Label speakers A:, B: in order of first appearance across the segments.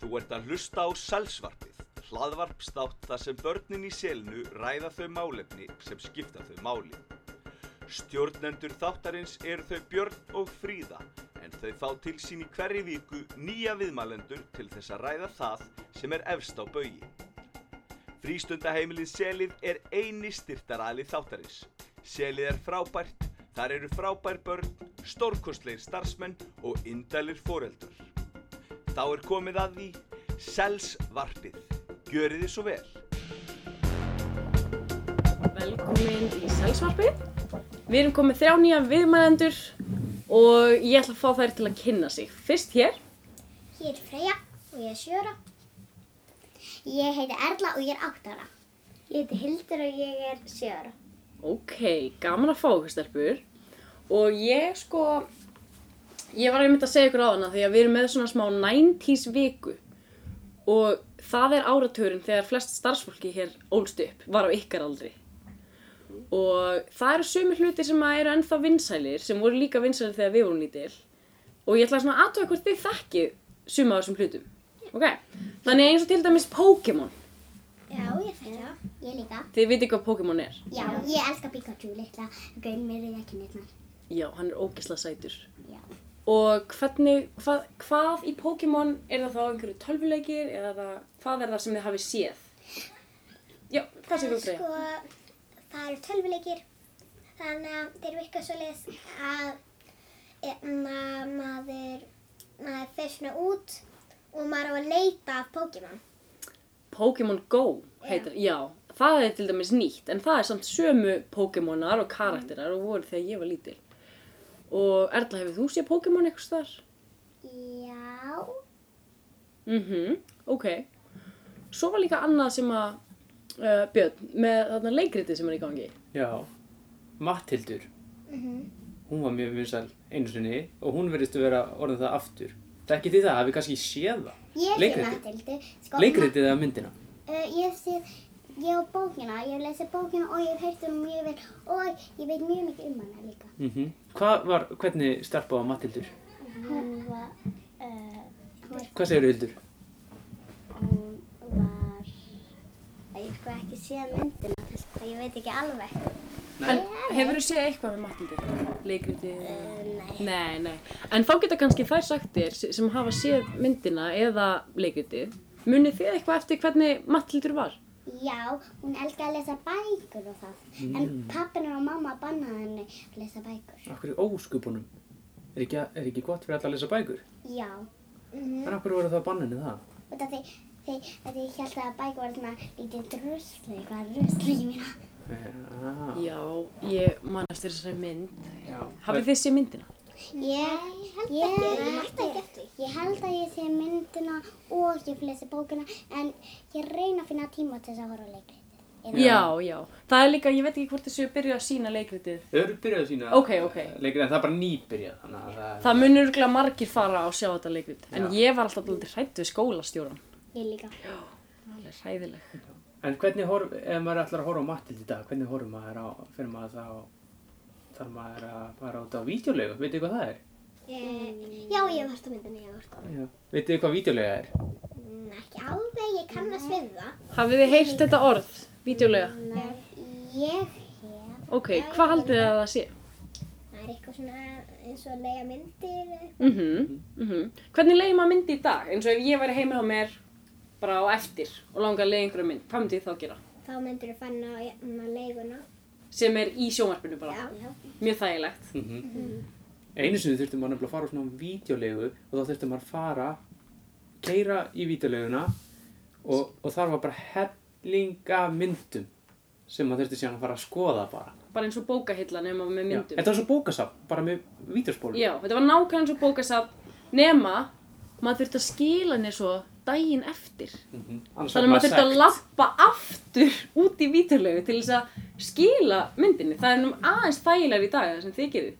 A: Þú ert að hlusta á Sælsvarpið, hlaðvarpstátt þar sem börnin í selinu ræða þau málefni sem skipta þau máli. Stjórnendur þáttarins eru þau Björn og Fríða, en þau fá til sín í hverri viku nýja viðmælendur til þess að ræða það sem er efst á baugi. Frístundaheimilið Selið er eini styrtaræli þáttarins. Selið er frábært, þar eru frábær börn, stórkostleir starfsmenn og indælir foreldur. Þá er komið að því Selsvarpið. Gjörið þið svo vel.
B: Velkomin í Sælsvarpið. Við erum komið þrjá nýja viðmælendur og ég ætla að fá þær til að kynna sig. Fyrst hér,
C: Ég er Freyja og ég er sjöra. Ég heiti Erla og ég er áttara. Ég heiti Hildur og ég er sjöra.
B: ok, gaman að fá okkur stelpur. Og ég sko, ég var einmitt að segja ykkur á hana því að við erum með svona smá 90s viku. Og það er áratörinn þegar flest starfsfólki hér ólst upp, var á ykkar aldri. Og það eru sumir hlutir sem að eru ennþá vinsælir, sem voru líka vinsælir þegar við vorum lítil. Og ég ætla svona að aðtöða hvort þið þekkið suma af þessum hlutum. Ok, þannig eins og til dæmis Pokémon.
C: Já, ég þekki það. Ég líka.
B: Þið viti hvað Pokémon er.
C: Já, ég elska Pikachu litla. Gaun mér í ekkinirnar.
B: Já, hann er ógeðslega sætur.
C: Já.
B: Og hvernig, hvað, hvað í Pokémon, er það þá einhverju tölvuleikir eða það, hvað er það sem þið hafið séð? Já, hvað segir þú að segja?
C: Sko, það eru tölvuleikir. Þannig að þeir virka svo leis að na, maður, maður fer svona út og maður á að leita af Pokémon.
B: Pokémon Go heitir, já, það er til dæmis nýtt, en það er samt sömu Pokémonar og karakterar og voru þegar ég var lítil. Og Erla, hefur þú séð Pokémon eitthvað þar?
C: Já.
B: Mhm, ok. Svo var líka annað sem að, uh, Björn, með þarna leikritið sem er í gangi.
D: Já, Matthildur,
C: Mm
D: hún var mjög vinsæl einu sinni og hún verðist að vera orðin það aftur. Það er ekki því það, hafið kannski séð það.
C: Ég Sko, sé
D: Leikritið.
C: Matildi.
D: Leikritið eða myndina.
C: Uh, ég hef séð, ég á bókina, ég hef lesið bókina og ég hef heyrt um mjög vel og ég veit mjög mikið um hana líka.
D: Mm Hvað var, hvernig starpa á Matthildur?
C: Hún var, uh,
D: Hvað segir Hildur?
C: hún var, ég hef sko ekki séð myndina þess að ég veit ekki alveg.
B: En hefur þú séð eitthvað með Mattildi? Leikritið?
C: nei.
B: Nei, nei. En þá geta kannski þær sagt þér s- sem hafa séð myndina eða leikritið. Munið þið eitthvað eftir hvernig Mattildur var?
C: Já, hún elskar að lesa bækur og það, en pappinu og mamma bannaði henni að lesa bækur.
D: Akkur í óskupunum. Er ekki, er ekki gott fyrir alla að lesa bækur?
C: Já, mm
D: En akkur voru það banninu það?
C: út af því, því að ég held að bækur var svona lítið drusli, eitthvað drusli í mína.
D: Já.
B: Já, ég manast þér þessari mynd.
D: Já.
B: Hafið þið séð myndina?
C: Ég, ég, held ekki, ég held að ég sé myndina og ég lesi bókina en ég reyna að finna tíma til þess að horfa á leikritið. Eða-
B: Já, já. Það er líka, ég veit ekki hvort þessu byrjuð að sína leikritið.
D: Þau eru byrjað að sína
B: Ok, ok.
D: leikritið en það er bara nýbyrjað. Þannig að það...
B: Það munur örgulega margir fara og sjá þetta leikrit. En
D: Já.
B: ég var alltaf alltaf hrætt við skólastjóran.
C: Ég líka.
B: Það er hræðileg.
D: En hvernig horf, ef maður ætlar að horfa á Mattild í dag, hvernig horfum maður á, fyrir maður það á, þarf maður að fara út á vídeolegu, veitu hvað það er?
C: Eh, Já, ég hef hort á myndina, ég hef hort á
D: Já. Veitu hvað vídeolega er?
C: myndina. Ekki alveg, ég kannast við það.
B: Hafið þið heyrt þetta orð? Vídeolega?
C: Nei. Ég hef,
B: Ok, hvað haldið þið að það sé?
C: það er eitthvað svona eins og að lega myndir.
B: Mhm, mhm. Hvernig leiði maður myndi í dag? Eins og ef ég væri heima á mér bara á eftir og langar að leiði einhverju mynd, hvað myndi ég þá gera?
C: Þá myndir þú fanna á hérna leiguna.
B: Sem er í sjónvarpinu bara. Mjög þægilegt.
D: Mm Einu sinni þurfti maður nefnilega að fara á svona vídeolegu og þá þurfti maður að fara, keira í vídeoleguna og, og þar var bara hellinga myndum sem maður þurfti síðan að fara að skoða bara.
B: Bara eins og bókahilla nema með
D: Já.
B: myndum.
D: Þetta var svo bókasafn, bara með vídeospólum.
B: Já, þetta var nákvæmlega eins og bókasafn nema maður þurfti að skila henni svo daginn eftir.
D: Mhm. Annars
B: Þannig að maður þurfti að
D: sekt.
B: lappa aftur út í víturlegu til þess að skila myndinni. Það er nú aðeins þægilegar í dag það sem þið gerðu.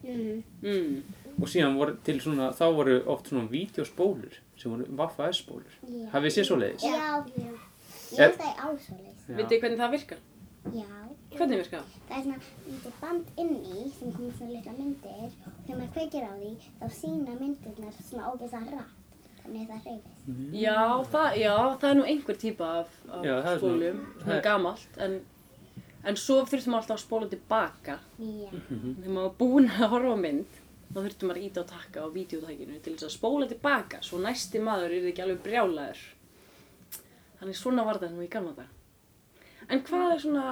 B: Mm.
D: Og síðan voru til svona, þá voru oft svona vídeospólur sem voru Vaffa S-spólur.
C: Já.
D: Hafið þið séð svo leiðis?
C: Já. Ég held að ég á svo
B: Vitið þið hvernig það virkar?
C: Já.
B: Hvernig virkar það?
C: Það er svona lítið band inn í sem komur svona litla myndir og þegar maður kveikir á því þá sína myndirnar svona ógeðslega hratt hvernig það hreyfist.
B: Já, það, já, það er nú einhver típa af, af
D: Já, það er svona-
B: spólum,
D: það
B: svona
D: er-
B: gamalt, en, en svo þurftum maður alltaf að spóla tilbaka.
C: Já.
D: Mm.
B: Þegar maður var búinn að horfa á mynd, þá þurftum maður að íta á takka á videotækinu til þess að spóla tilbaka, svo næsti maður er ekki alveg brjálaður. Þannig svona var það nú í gamla dag. En hvað er svona,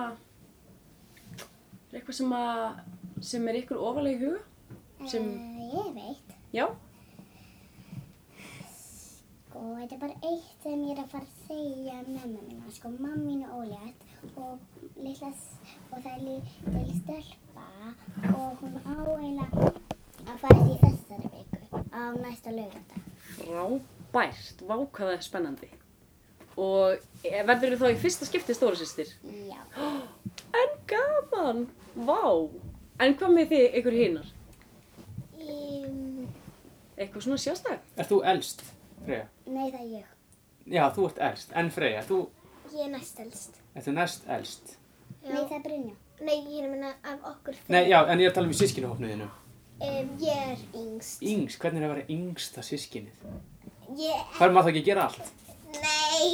B: er eitthvað sem, að, sem er ykkur ofalega í huga? Sem,
C: Eh, ég veit.
B: já,
C: Sko, þetta er bara eitt sem ég er að fara að segja mamma minna. Sko, mamma mín er ólétt og litla, s- og það er lítil stelpa og hún á eiginlega að fara í þessari viku á næsta lögata.
B: frábært, vákvæða spennandi. Og eh, verður þú þá í fyrsta skipti stóra sýstir?
C: Já.
B: En gaman, vá. En hvað með þið ykkur hinnar?
C: Um,
B: Eitthvað svona sjástæk?
D: Er þú elst, Freyja?
C: nei, það er ég.
D: Já, þú ert elst. En Freyja, þú
E: Ég er næstelst.
D: ert næst elst.
C: Nei, það er Brynja.
E: Nei, ég er að minna af okkur
D: Nei, já, en ég er að tala um í sískinahopnuðinu.
E: Um, ég er yngst.
D: Yngs, hvernig er að vera yngsta sískinið?
E: Ég,
D: Fær maður það ekki að gera allt?
E: nei,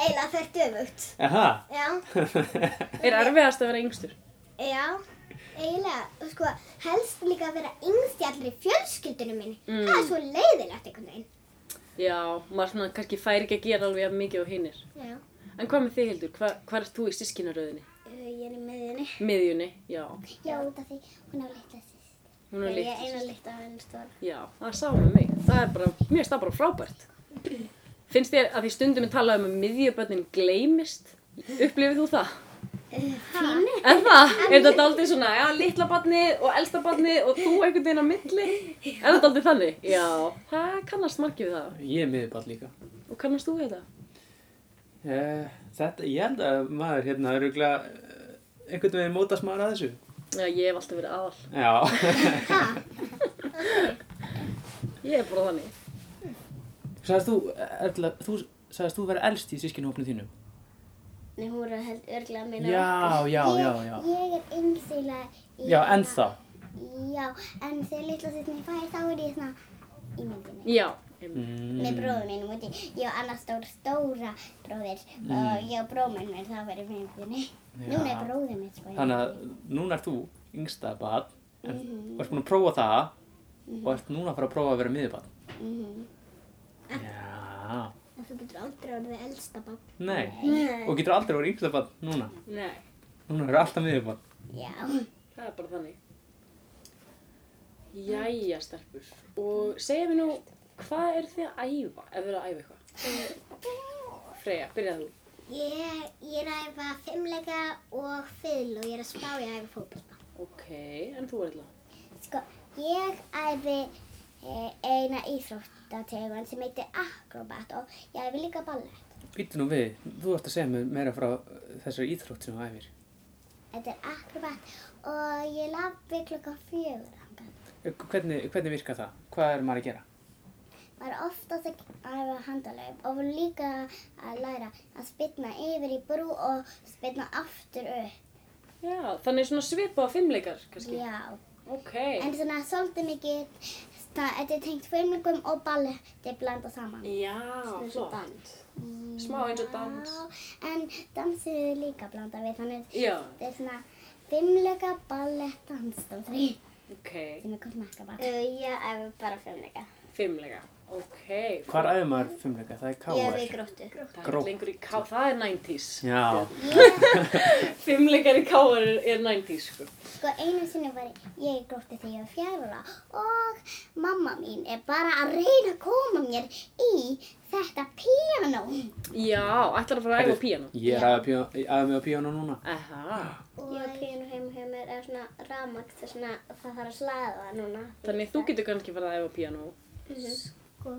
E: eiginlega fer döfugt.
D: Aha.
E: Já,
B: Er erfiðast að vera yngstur?
E: já, eiginlega, og sko, helst líka að vera yngst í allri fjölskyldunum minni.
D: Mm.
E: Það er svo leiðilegt einhvern veginn.
B: Já, maður svona kannski fær ekki að gera alveg jafn mikið á hinnir.
E: Já,
B: En hvað með þið Hildur? Hva, hvað ert þú í sískinaröðinni?
E: uh, ég er í miðjunni.
B: Miðjunni, já.
C: Já, út af því hún á litla sýst.
B: Hún er
E: Ég er eina
B: líkt.
E: litla en stóra.
B: Já, það er sama með mig. Það er bara, mér finnst það bara frábært. Finnst þér að því stundum er talað um að miðjubönnin gleymist? Upplifið þú það?
E: Fínu?
B: Er það? Er þetta aldrei svona, já, litla barnið og elsta barnið og þú einhvern veginn á milli? Er þetta aldrei þannig? Já. Það kannast margir við það.
D: Ég er miðball líka.
B: Og kannast þú við það?
D: Uh, þetta, ég held að maður hérna öruglega uh, einhvern veginn mótast maður að þessu.
B: Já, ég hef alltaf verið aðal.
D: Já.
B: Ég er bara þannig.
D: sagðist þú, Erla, þú sagðist þú vera elst í sískinahopnuð þínu?
E: Nei, hún er held örglega að minna.
D: Já, já, já, já.
C: Ég, ég er yngstilega í...
D: Já, en þá.
C: Já, en þegar litla sýst mér fær þá er ég svona í myndinni.
B: Já. einmitt.
D: Mm.
C: með bróðum mínum úti. Ég á annars stór, stóra bróðir
D: Mm.
C: og ég á bróðmenn mér, það verið myndinni. Núna er bróðið minn sko.
D: Þannig að núna ert þú yngsta barn en
E: Mhm.
D: og ert búin að prófa það og ert núna að fara að prófa að vera miðbarn.
E: Mhm.
D: Já,
E: En þú getur aldrei orðið elsta bann.
D: nei.
E: Nei.
D: Og getur aldrei að vera yngsta barn núna.
B: Nei,
D: Núna er alltaf miðbarn.
C: Já.
B: það er bara þannig. Jæja, stelpur. Og segja mér nú, hvað er þið að æfa? Ef þið eru að æfa eitthvað. Freyja, byrjaðu þú.
E: Ég, ég er að æfa fimmleika og fyll og ég er að spá í að æfa fótbolta.
B: Ok, en þú er eitthvað.
C: Sko, ég æfi eh, eina íþróttategun sem heitir akrobat og ég æfi líka ballett.
D: Býttu nú við, þú ert að segja mér meira frá uh, þessari íþrótt sem þú æfir.
C: Þetta er akrobat og ég labbi klukka fjögur þangað.
D: Uh, Hvernig, hvernig virkar það? Hvað er maður að gera?
C: Maður er oftast að æfa handalöf og líka að læra að spilna yfir í brú og spilna aftur upp.
B: Já, þannig svona svipaða fimmleikar, kannski.
C: Já.
B: Ok.
C: En svona svolítið mikið, það, þetta er tengt filmingum og balli, þetta er blandað saman.
B: Já, flott.
E: Band.
B: Smá eins og dans.
C: Já, en dansið er líka blandað við, þannig
B: Já,
C: þetta er svona fimmleika ballett dansdansri.
B: ok.
C: Sem er gott makka bara.
E: Uh, ég æfi bara fimmleika.
B: Fimmleika. Ok.
D: Hvar æfir maður fimmleika? Það er
E: Ég æfi
D: káar.
E: gróttu.
B: Það er
D: Grótt.
B: lengur í ká, það er 90s.
D: Já,
B: Fimmleikar í ká er, er 90s, sko.
C: Sko einu sinni var ég í gróttu þegar ég var fjárvara og mamma mín er bara að reyna að koma mér í þetta píanó.
B: Já, ætlar að fara að æfa á píanó.
D: ég er að æfa mig á píónu núna.
B: Aha.
E: Ég á pínu heim hjá mér er svona rafmagn það er svona, það þarf að slaða núna. Mhm.
B: Þannig þú getur kannski farið að æfa á píanó.
C: Sko,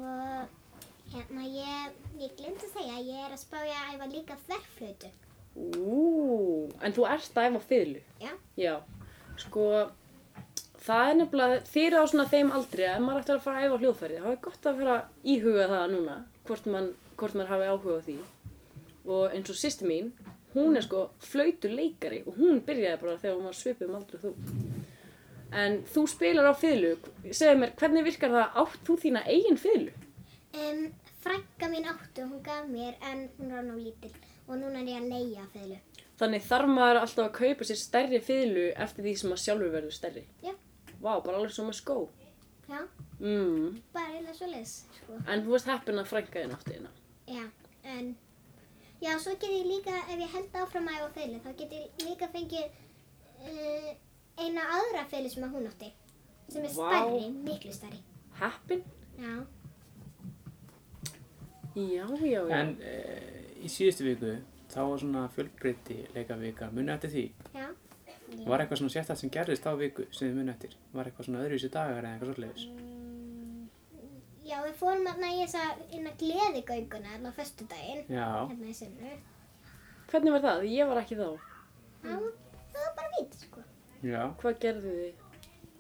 C: hérna ég, ég glemt að segja, ég er að spá ég að æfa líka þverflötu.
B: Ú, en þú ert að æfa á fiðlu.
C: Já.
B: Já, sko, það er nefnilega, þýra á svona þeim aldrei að ef maður ætlar að fara að æfa á hljóðfærið, þá er gott að fara að íhuga það núna, hvort mann, hvort mann hafi áhuga á því. Og eins og sýsti mín, hún er sko flautuleikari og hún byrjaði bara þegar hún var svipum aldrei þú. En þú spilar á fiðlu, segðu mér, hvernig virkar það, átt þú þína eigin fiðlu?
C: um, frænka mín áttu, hún gaf mér en hún var nú lítill og núna er ég að leia fiðlu.
B: Þannig þarf maður alltaf að kaupa sér stærri fiðlu eftir því sem maður sjálfur verður stærri.
C: Já.
B: Vá, bara alveg svo með skó.
C: Já,
B: Mm.
C: bara eiginlega svo leis, sko.
B: En þú veist heppin að frænka þinn átti hérna.
C: Já, en já, svo get ég líka, ef ég held áfram að ég var fiðlu, þá get ég líka fengið uh, eina aðra fiðlu sem að hún átti, sem er
B: Vá.
C: stærri, miklu stærri.
B: Heppin?
C: Já,
B: Já, já, já.
D: En e, í síðustu viku þá var svona fjölbreyti leika vika, muni eftir því.
C: já.
D: Var eitthvað svona sérstætt sem gerðist á viku sem þið muni eftir? Var eitthvað svona öðruvísi dagar eða eitthvað svoleiðis?
C: Já, við fórum hérna í þessa hérna gleðigönguna hérna á föstudaginn,
D: Já,
C: hérna í sumru.
B: Hvernig var það? Ég var ekki þá.
C: Það var- það var bara vít, sko.
D: já.
B: Hvað gerðu þið?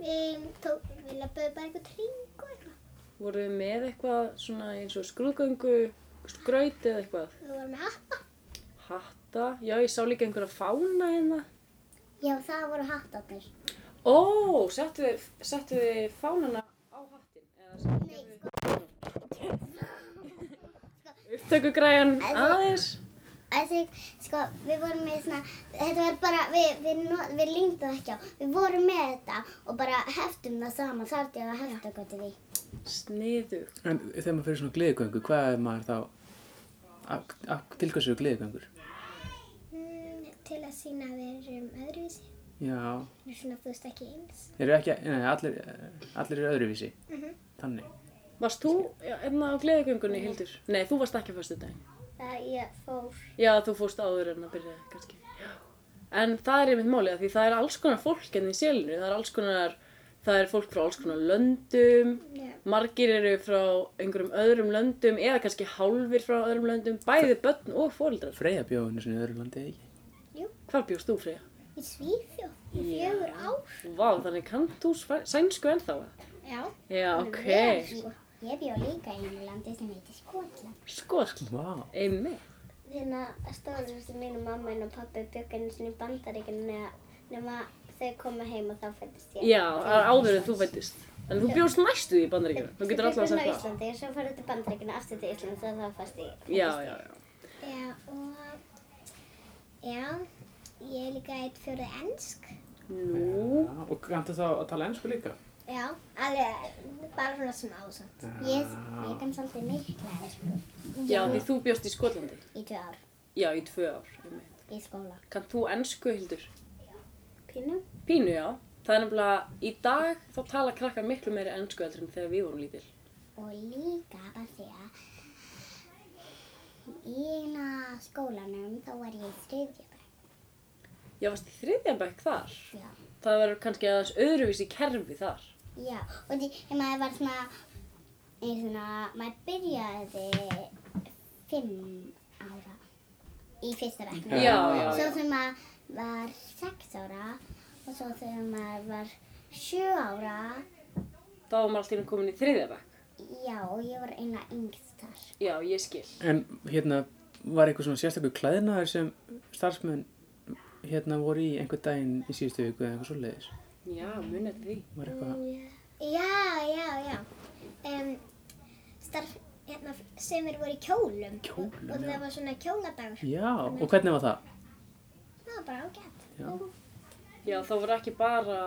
C: Við tók, við löpum bara eitthvað tring og eitthvað.
B: Voruð þið með eitthvað svona eins og skrúðgöngu, skraut eða eitthvað?
C: Við vorum með hatta.
B: Hatta? Já, ég sá líka einhverja fána hérna.
C: Já, það voru hattarnir.
B: Ó, settu þið, settu þið fánana á hattin? Eða Nei, sko. Upptöku græjan aðeins?
E: Þessi, sko, við vorum með svona, þetta var bara, við, við, við, við líndum það ekki á, við vorum með þetta og bara heftum það saman, þar til að hefta gott í því.
B: Sniður.
D: En þegar maður fyrir svona gleðigöngu, hvað er maður þá? Af- af- Til hversu eru gleðigöngur?
C: Mm, til að sína að við
E: um,
C: erum öðruvísi.
D: Já,
C: Við erum svona, þú veist, ekki eins.
D: eru ekki, nei, allir, allir eru öðruvísi. Þannig.
B: Varst þú já, hérna á gleðugöngunni, Hildur? Nei, þú varst ekki á fyrstu daginn.
C: Það ég fór.
B: Já, þú fórst áður en að byrja, kannski. En það er einmitt málið, af því það er alls konar fólk enn í sélinu. Það er alls konar, það er fólk frá alls konar löndum.
C: Já.
B: Margir eru frá einhverjum öðrum löndum eða kannski hálfir frá öðrum löndum. Bæði börn og fóreldrar.
D: Freyja bjóðinu sinni öðru landi eða ekki?
B: Hvar bjóst þú, Freyja?
C: Í Svíþjóð. Í fjögur ár.
B: Vá, þannig kannt þú svæ- sænsku ennþá? eða?
C: Já.
B: Já, ok.
E: Ég bjó líka í einu landi sem heitir Skotland.
B: Skotl.
D: Vá.
B: Einmi.
E: Hérna, stóður sem mín og mamma og pabbi bjögg einu sinni í bandaríkinu nema þau koma heim og þá fættist ég.
B: Já, það er áður en þú fættist. En þú bjóst næstu í bandaríkjum. Þú getur alltaf
E: það.
B: að
E: Svo
B: segja
E: bjögg á
B: það.
E: Íslandi, svo fór þetta bandaríkinu aftur til Íslands og þá fættist ég.
B: Já, já, já.
C: Já, og... Já, ég er líka eitt fjóruð ensk.
B: Nú,
D: Já, og kanntu þá að tala ennsku líka?
C: Já, alveg, bara svona smá samt.
E: Ég, ég kann svolítið mikla sko,
B: já, því þú bjóst í Skotlandi.
E: í tvö ár
B: Já, í tvö ár. einmitt.
E: í skóla.
B: Kann þú ennsku, Hildur?
E: Pínu?
B: Pínu, já. Það er nefnilega, í dag þá tala krakkar miklu meiri ennsku heldur en þegar við vorum lítil.
E: Og líka bara því að í eina skólanum þá var ég í þriðja bekk.
B: Já, varst í þriðja bekk þar?
E: Já.
B: Það verður kannski aðeins öðruvísi kerfi þar.
E: Já, og því ef maður var svona, eða svona, maður byrjaði fimm ára í fyrsta bekknum.
B: Já, já,
E: Svo
B: já.
E: þegar maður var sex ára og svo þegar maður var sjö ára,
B: Þá var maður alltaf komin í þriðja bekk.
E: já, og ég var eina yngst þar.
B: Já, ég skil.
D: En hérna, var eitthvað svona sérstakur klæðnaður sem starfsmenn hérna voru í einhver daginn í síðustu viku eða eitthvað svoleiðis?
B: Já, munið eftir því.
D: Var eitthvað,
C: Já, já, já. Um, starf, hérna, semir voru í kjólum.
D: Kjólum,
C: Og, og
D: já.
C: það var svona kjóladagur.
D: já, og hvernig var það?
C: Það var bara ágætt.
D: Já,
B: Já, þá voru ekki bara,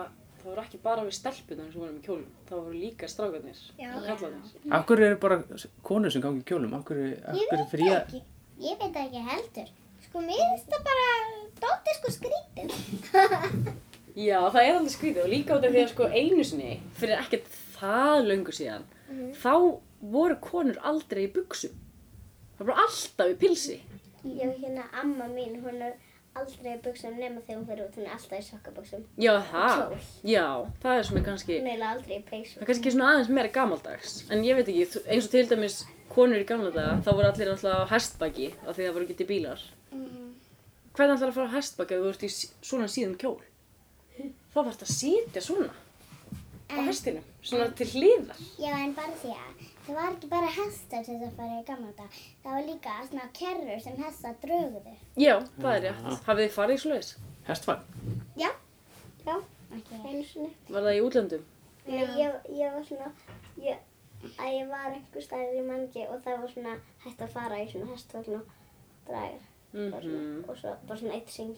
B: þá voru ekki bara við stelpunar sem vorum í kjólum. Þá voru líka strákarnir
C: Já.
B: og kallarnir.
D: af hverju eru bara konur sem gangi í kjólum? Af hverju, af
C: Ég
D: hverju
C: veit það
D: fría?
C: ekki. Ég veit það ekki heldur. Sko, mér finnst það bara, dóttir sko skrítið.
B: Já, það er alveg skrítið og líka út af því að sko einu sinni, fyrir ekkert það löngu síðan, þá voru konur aldrei í buksum. Það voru alltaf í pilsi.
E: Já, hérna amma mín, hún er aldrei í buksum nema þegar hún fyrir út, hún er alltaf í sokkabuksum.
B: Já, það.
E: Kjól.
B: Já, það er svona
E: Hún
B: kannski...
E: er eiginlega aldrei í peysu.
B: Það er kannski svona aðeins meira gamaldags, en ég veit ekki, þú- eins og til dæmis konur í gamla daga, þá voru allir alltaf á hestbaki af því það voru ekki til bílar. Hvernig ætlar að fara á hestbaki ef þú ert í sí- svona síðum kjól? Þá þarf þetta að sitja svona á hestinum, svona til hliðar.
E: Já, en bara því að það var ekki bara hestar til þess að fara í gamla dag. Það var líka svona kerrur sem hestar dröguðu.
B: Já, það er rétt. Hafið þið farið í svoleiðis?
D: Hestfagn?
E: Já, okay. einu sinni.
B: Var það í útlöndum?
E: Nei, ég, ég var svona, ég, að ég var einhver staðar í mangi og það var svona hægt að fara í svona hestvagn og dragar
B: Mhm.
E: og,
C: Mhm.
E: svona, og svo bara svona eitt syng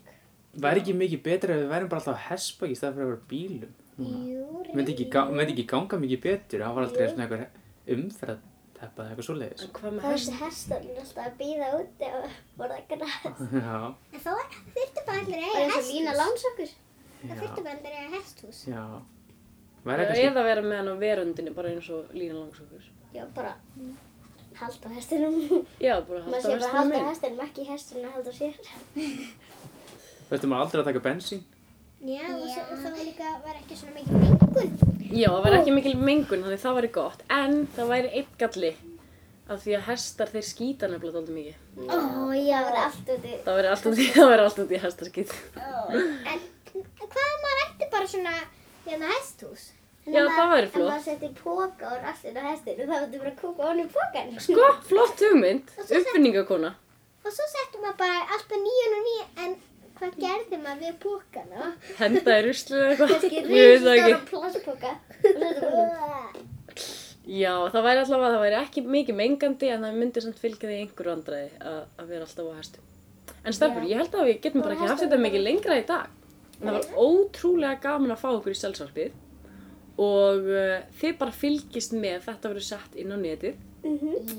D: Væri ekki mikið betra ef við værum bara alltaf hespa í stað fyrir að vera á bílum núna?
E: Jú,
D: Myndi ekki, ga- myndi ekki ganga mikið betur, það var aldrei svona eitthvað umferð eða eitthvað svoleiðis.
B: En hvað
E: Það
B: með
E: var
B: hest?
E: þessi hestarinn alltaf að býða úti og voru það græð.
D: Já,
C: En þá er- þurftu bara allir að
E: Það
C: eiga
E: er svo lína
C: hesthús.
E: lánsokkur.
C: Það
D: já,
C: þurftu bara allir að eiga hesthús.
D: já. Væri
B: Eða
D: eitthvað
B: eða vera með hann á veröndinni bara eins og lína langsókur.
E: Já, bara
C: Mm.
E: halda á hestinum.
B: Já, bara
E: Maður
B: halda
E: sé bara
B: vestan að
E: halda á
B: minn.
E: hestinum, ekki hestinum að halda á sér.
D: svona, veistu maður aldrei að taka bensín?
C: Já, og
E: Já.
C: svo, og það var líka, var ekki svona mikið mengun.
B: Já, það væri ekki mikil mengun, þannig það væri gott. En það væri einn galli. Af því að hestar þeir skýta nefnilega alltaf mikið.
C: Ó, já.
E: Það var allt úti.
B: Það væri alltaf því, það væri alltaf því hestaskýt.
C: En hvað ef maður ætti bara svona, hérna, hesthús? Hérna
B: Já, það væri
E: En
B: flott.
E: maður setti póka og rastin á hestinu, það vandi bara að kúka honum pókan.
B: Sko, flott hugmynd.
C: Og svo sem-
B: Uppfinningakona.
C: Og svo settum maður bara alltaf nýjun og nýjun, en hvað gerði maður við pókana?
B: Henda í ruslið eða eitthvað.
E: Kannski
B: Ég veit það
E: rísistóra
B: ekki.
E: plastpóka. Og setti bara honum.
B: Já, það væri allavega, það væri ekki mikið mengandi en það myndi samt fylgja því einhverju andræði að, að vera alltaf á hestum. En stelpur,
E: Já.
B: ég held að við getum bara
E: Og
B: ekki haft
E: hestar
B: þetta
E: eru
B: mikið lengra í dag. En það var ótrúlega gaman að fá okkur í sjálfsvarpið og uh, þið bara fylgist með þetta verður sett inn á netið.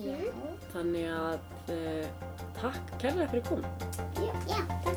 E: Já.
B: Þannig að uh, takk kærlega fyrir komin.
E: Já, takk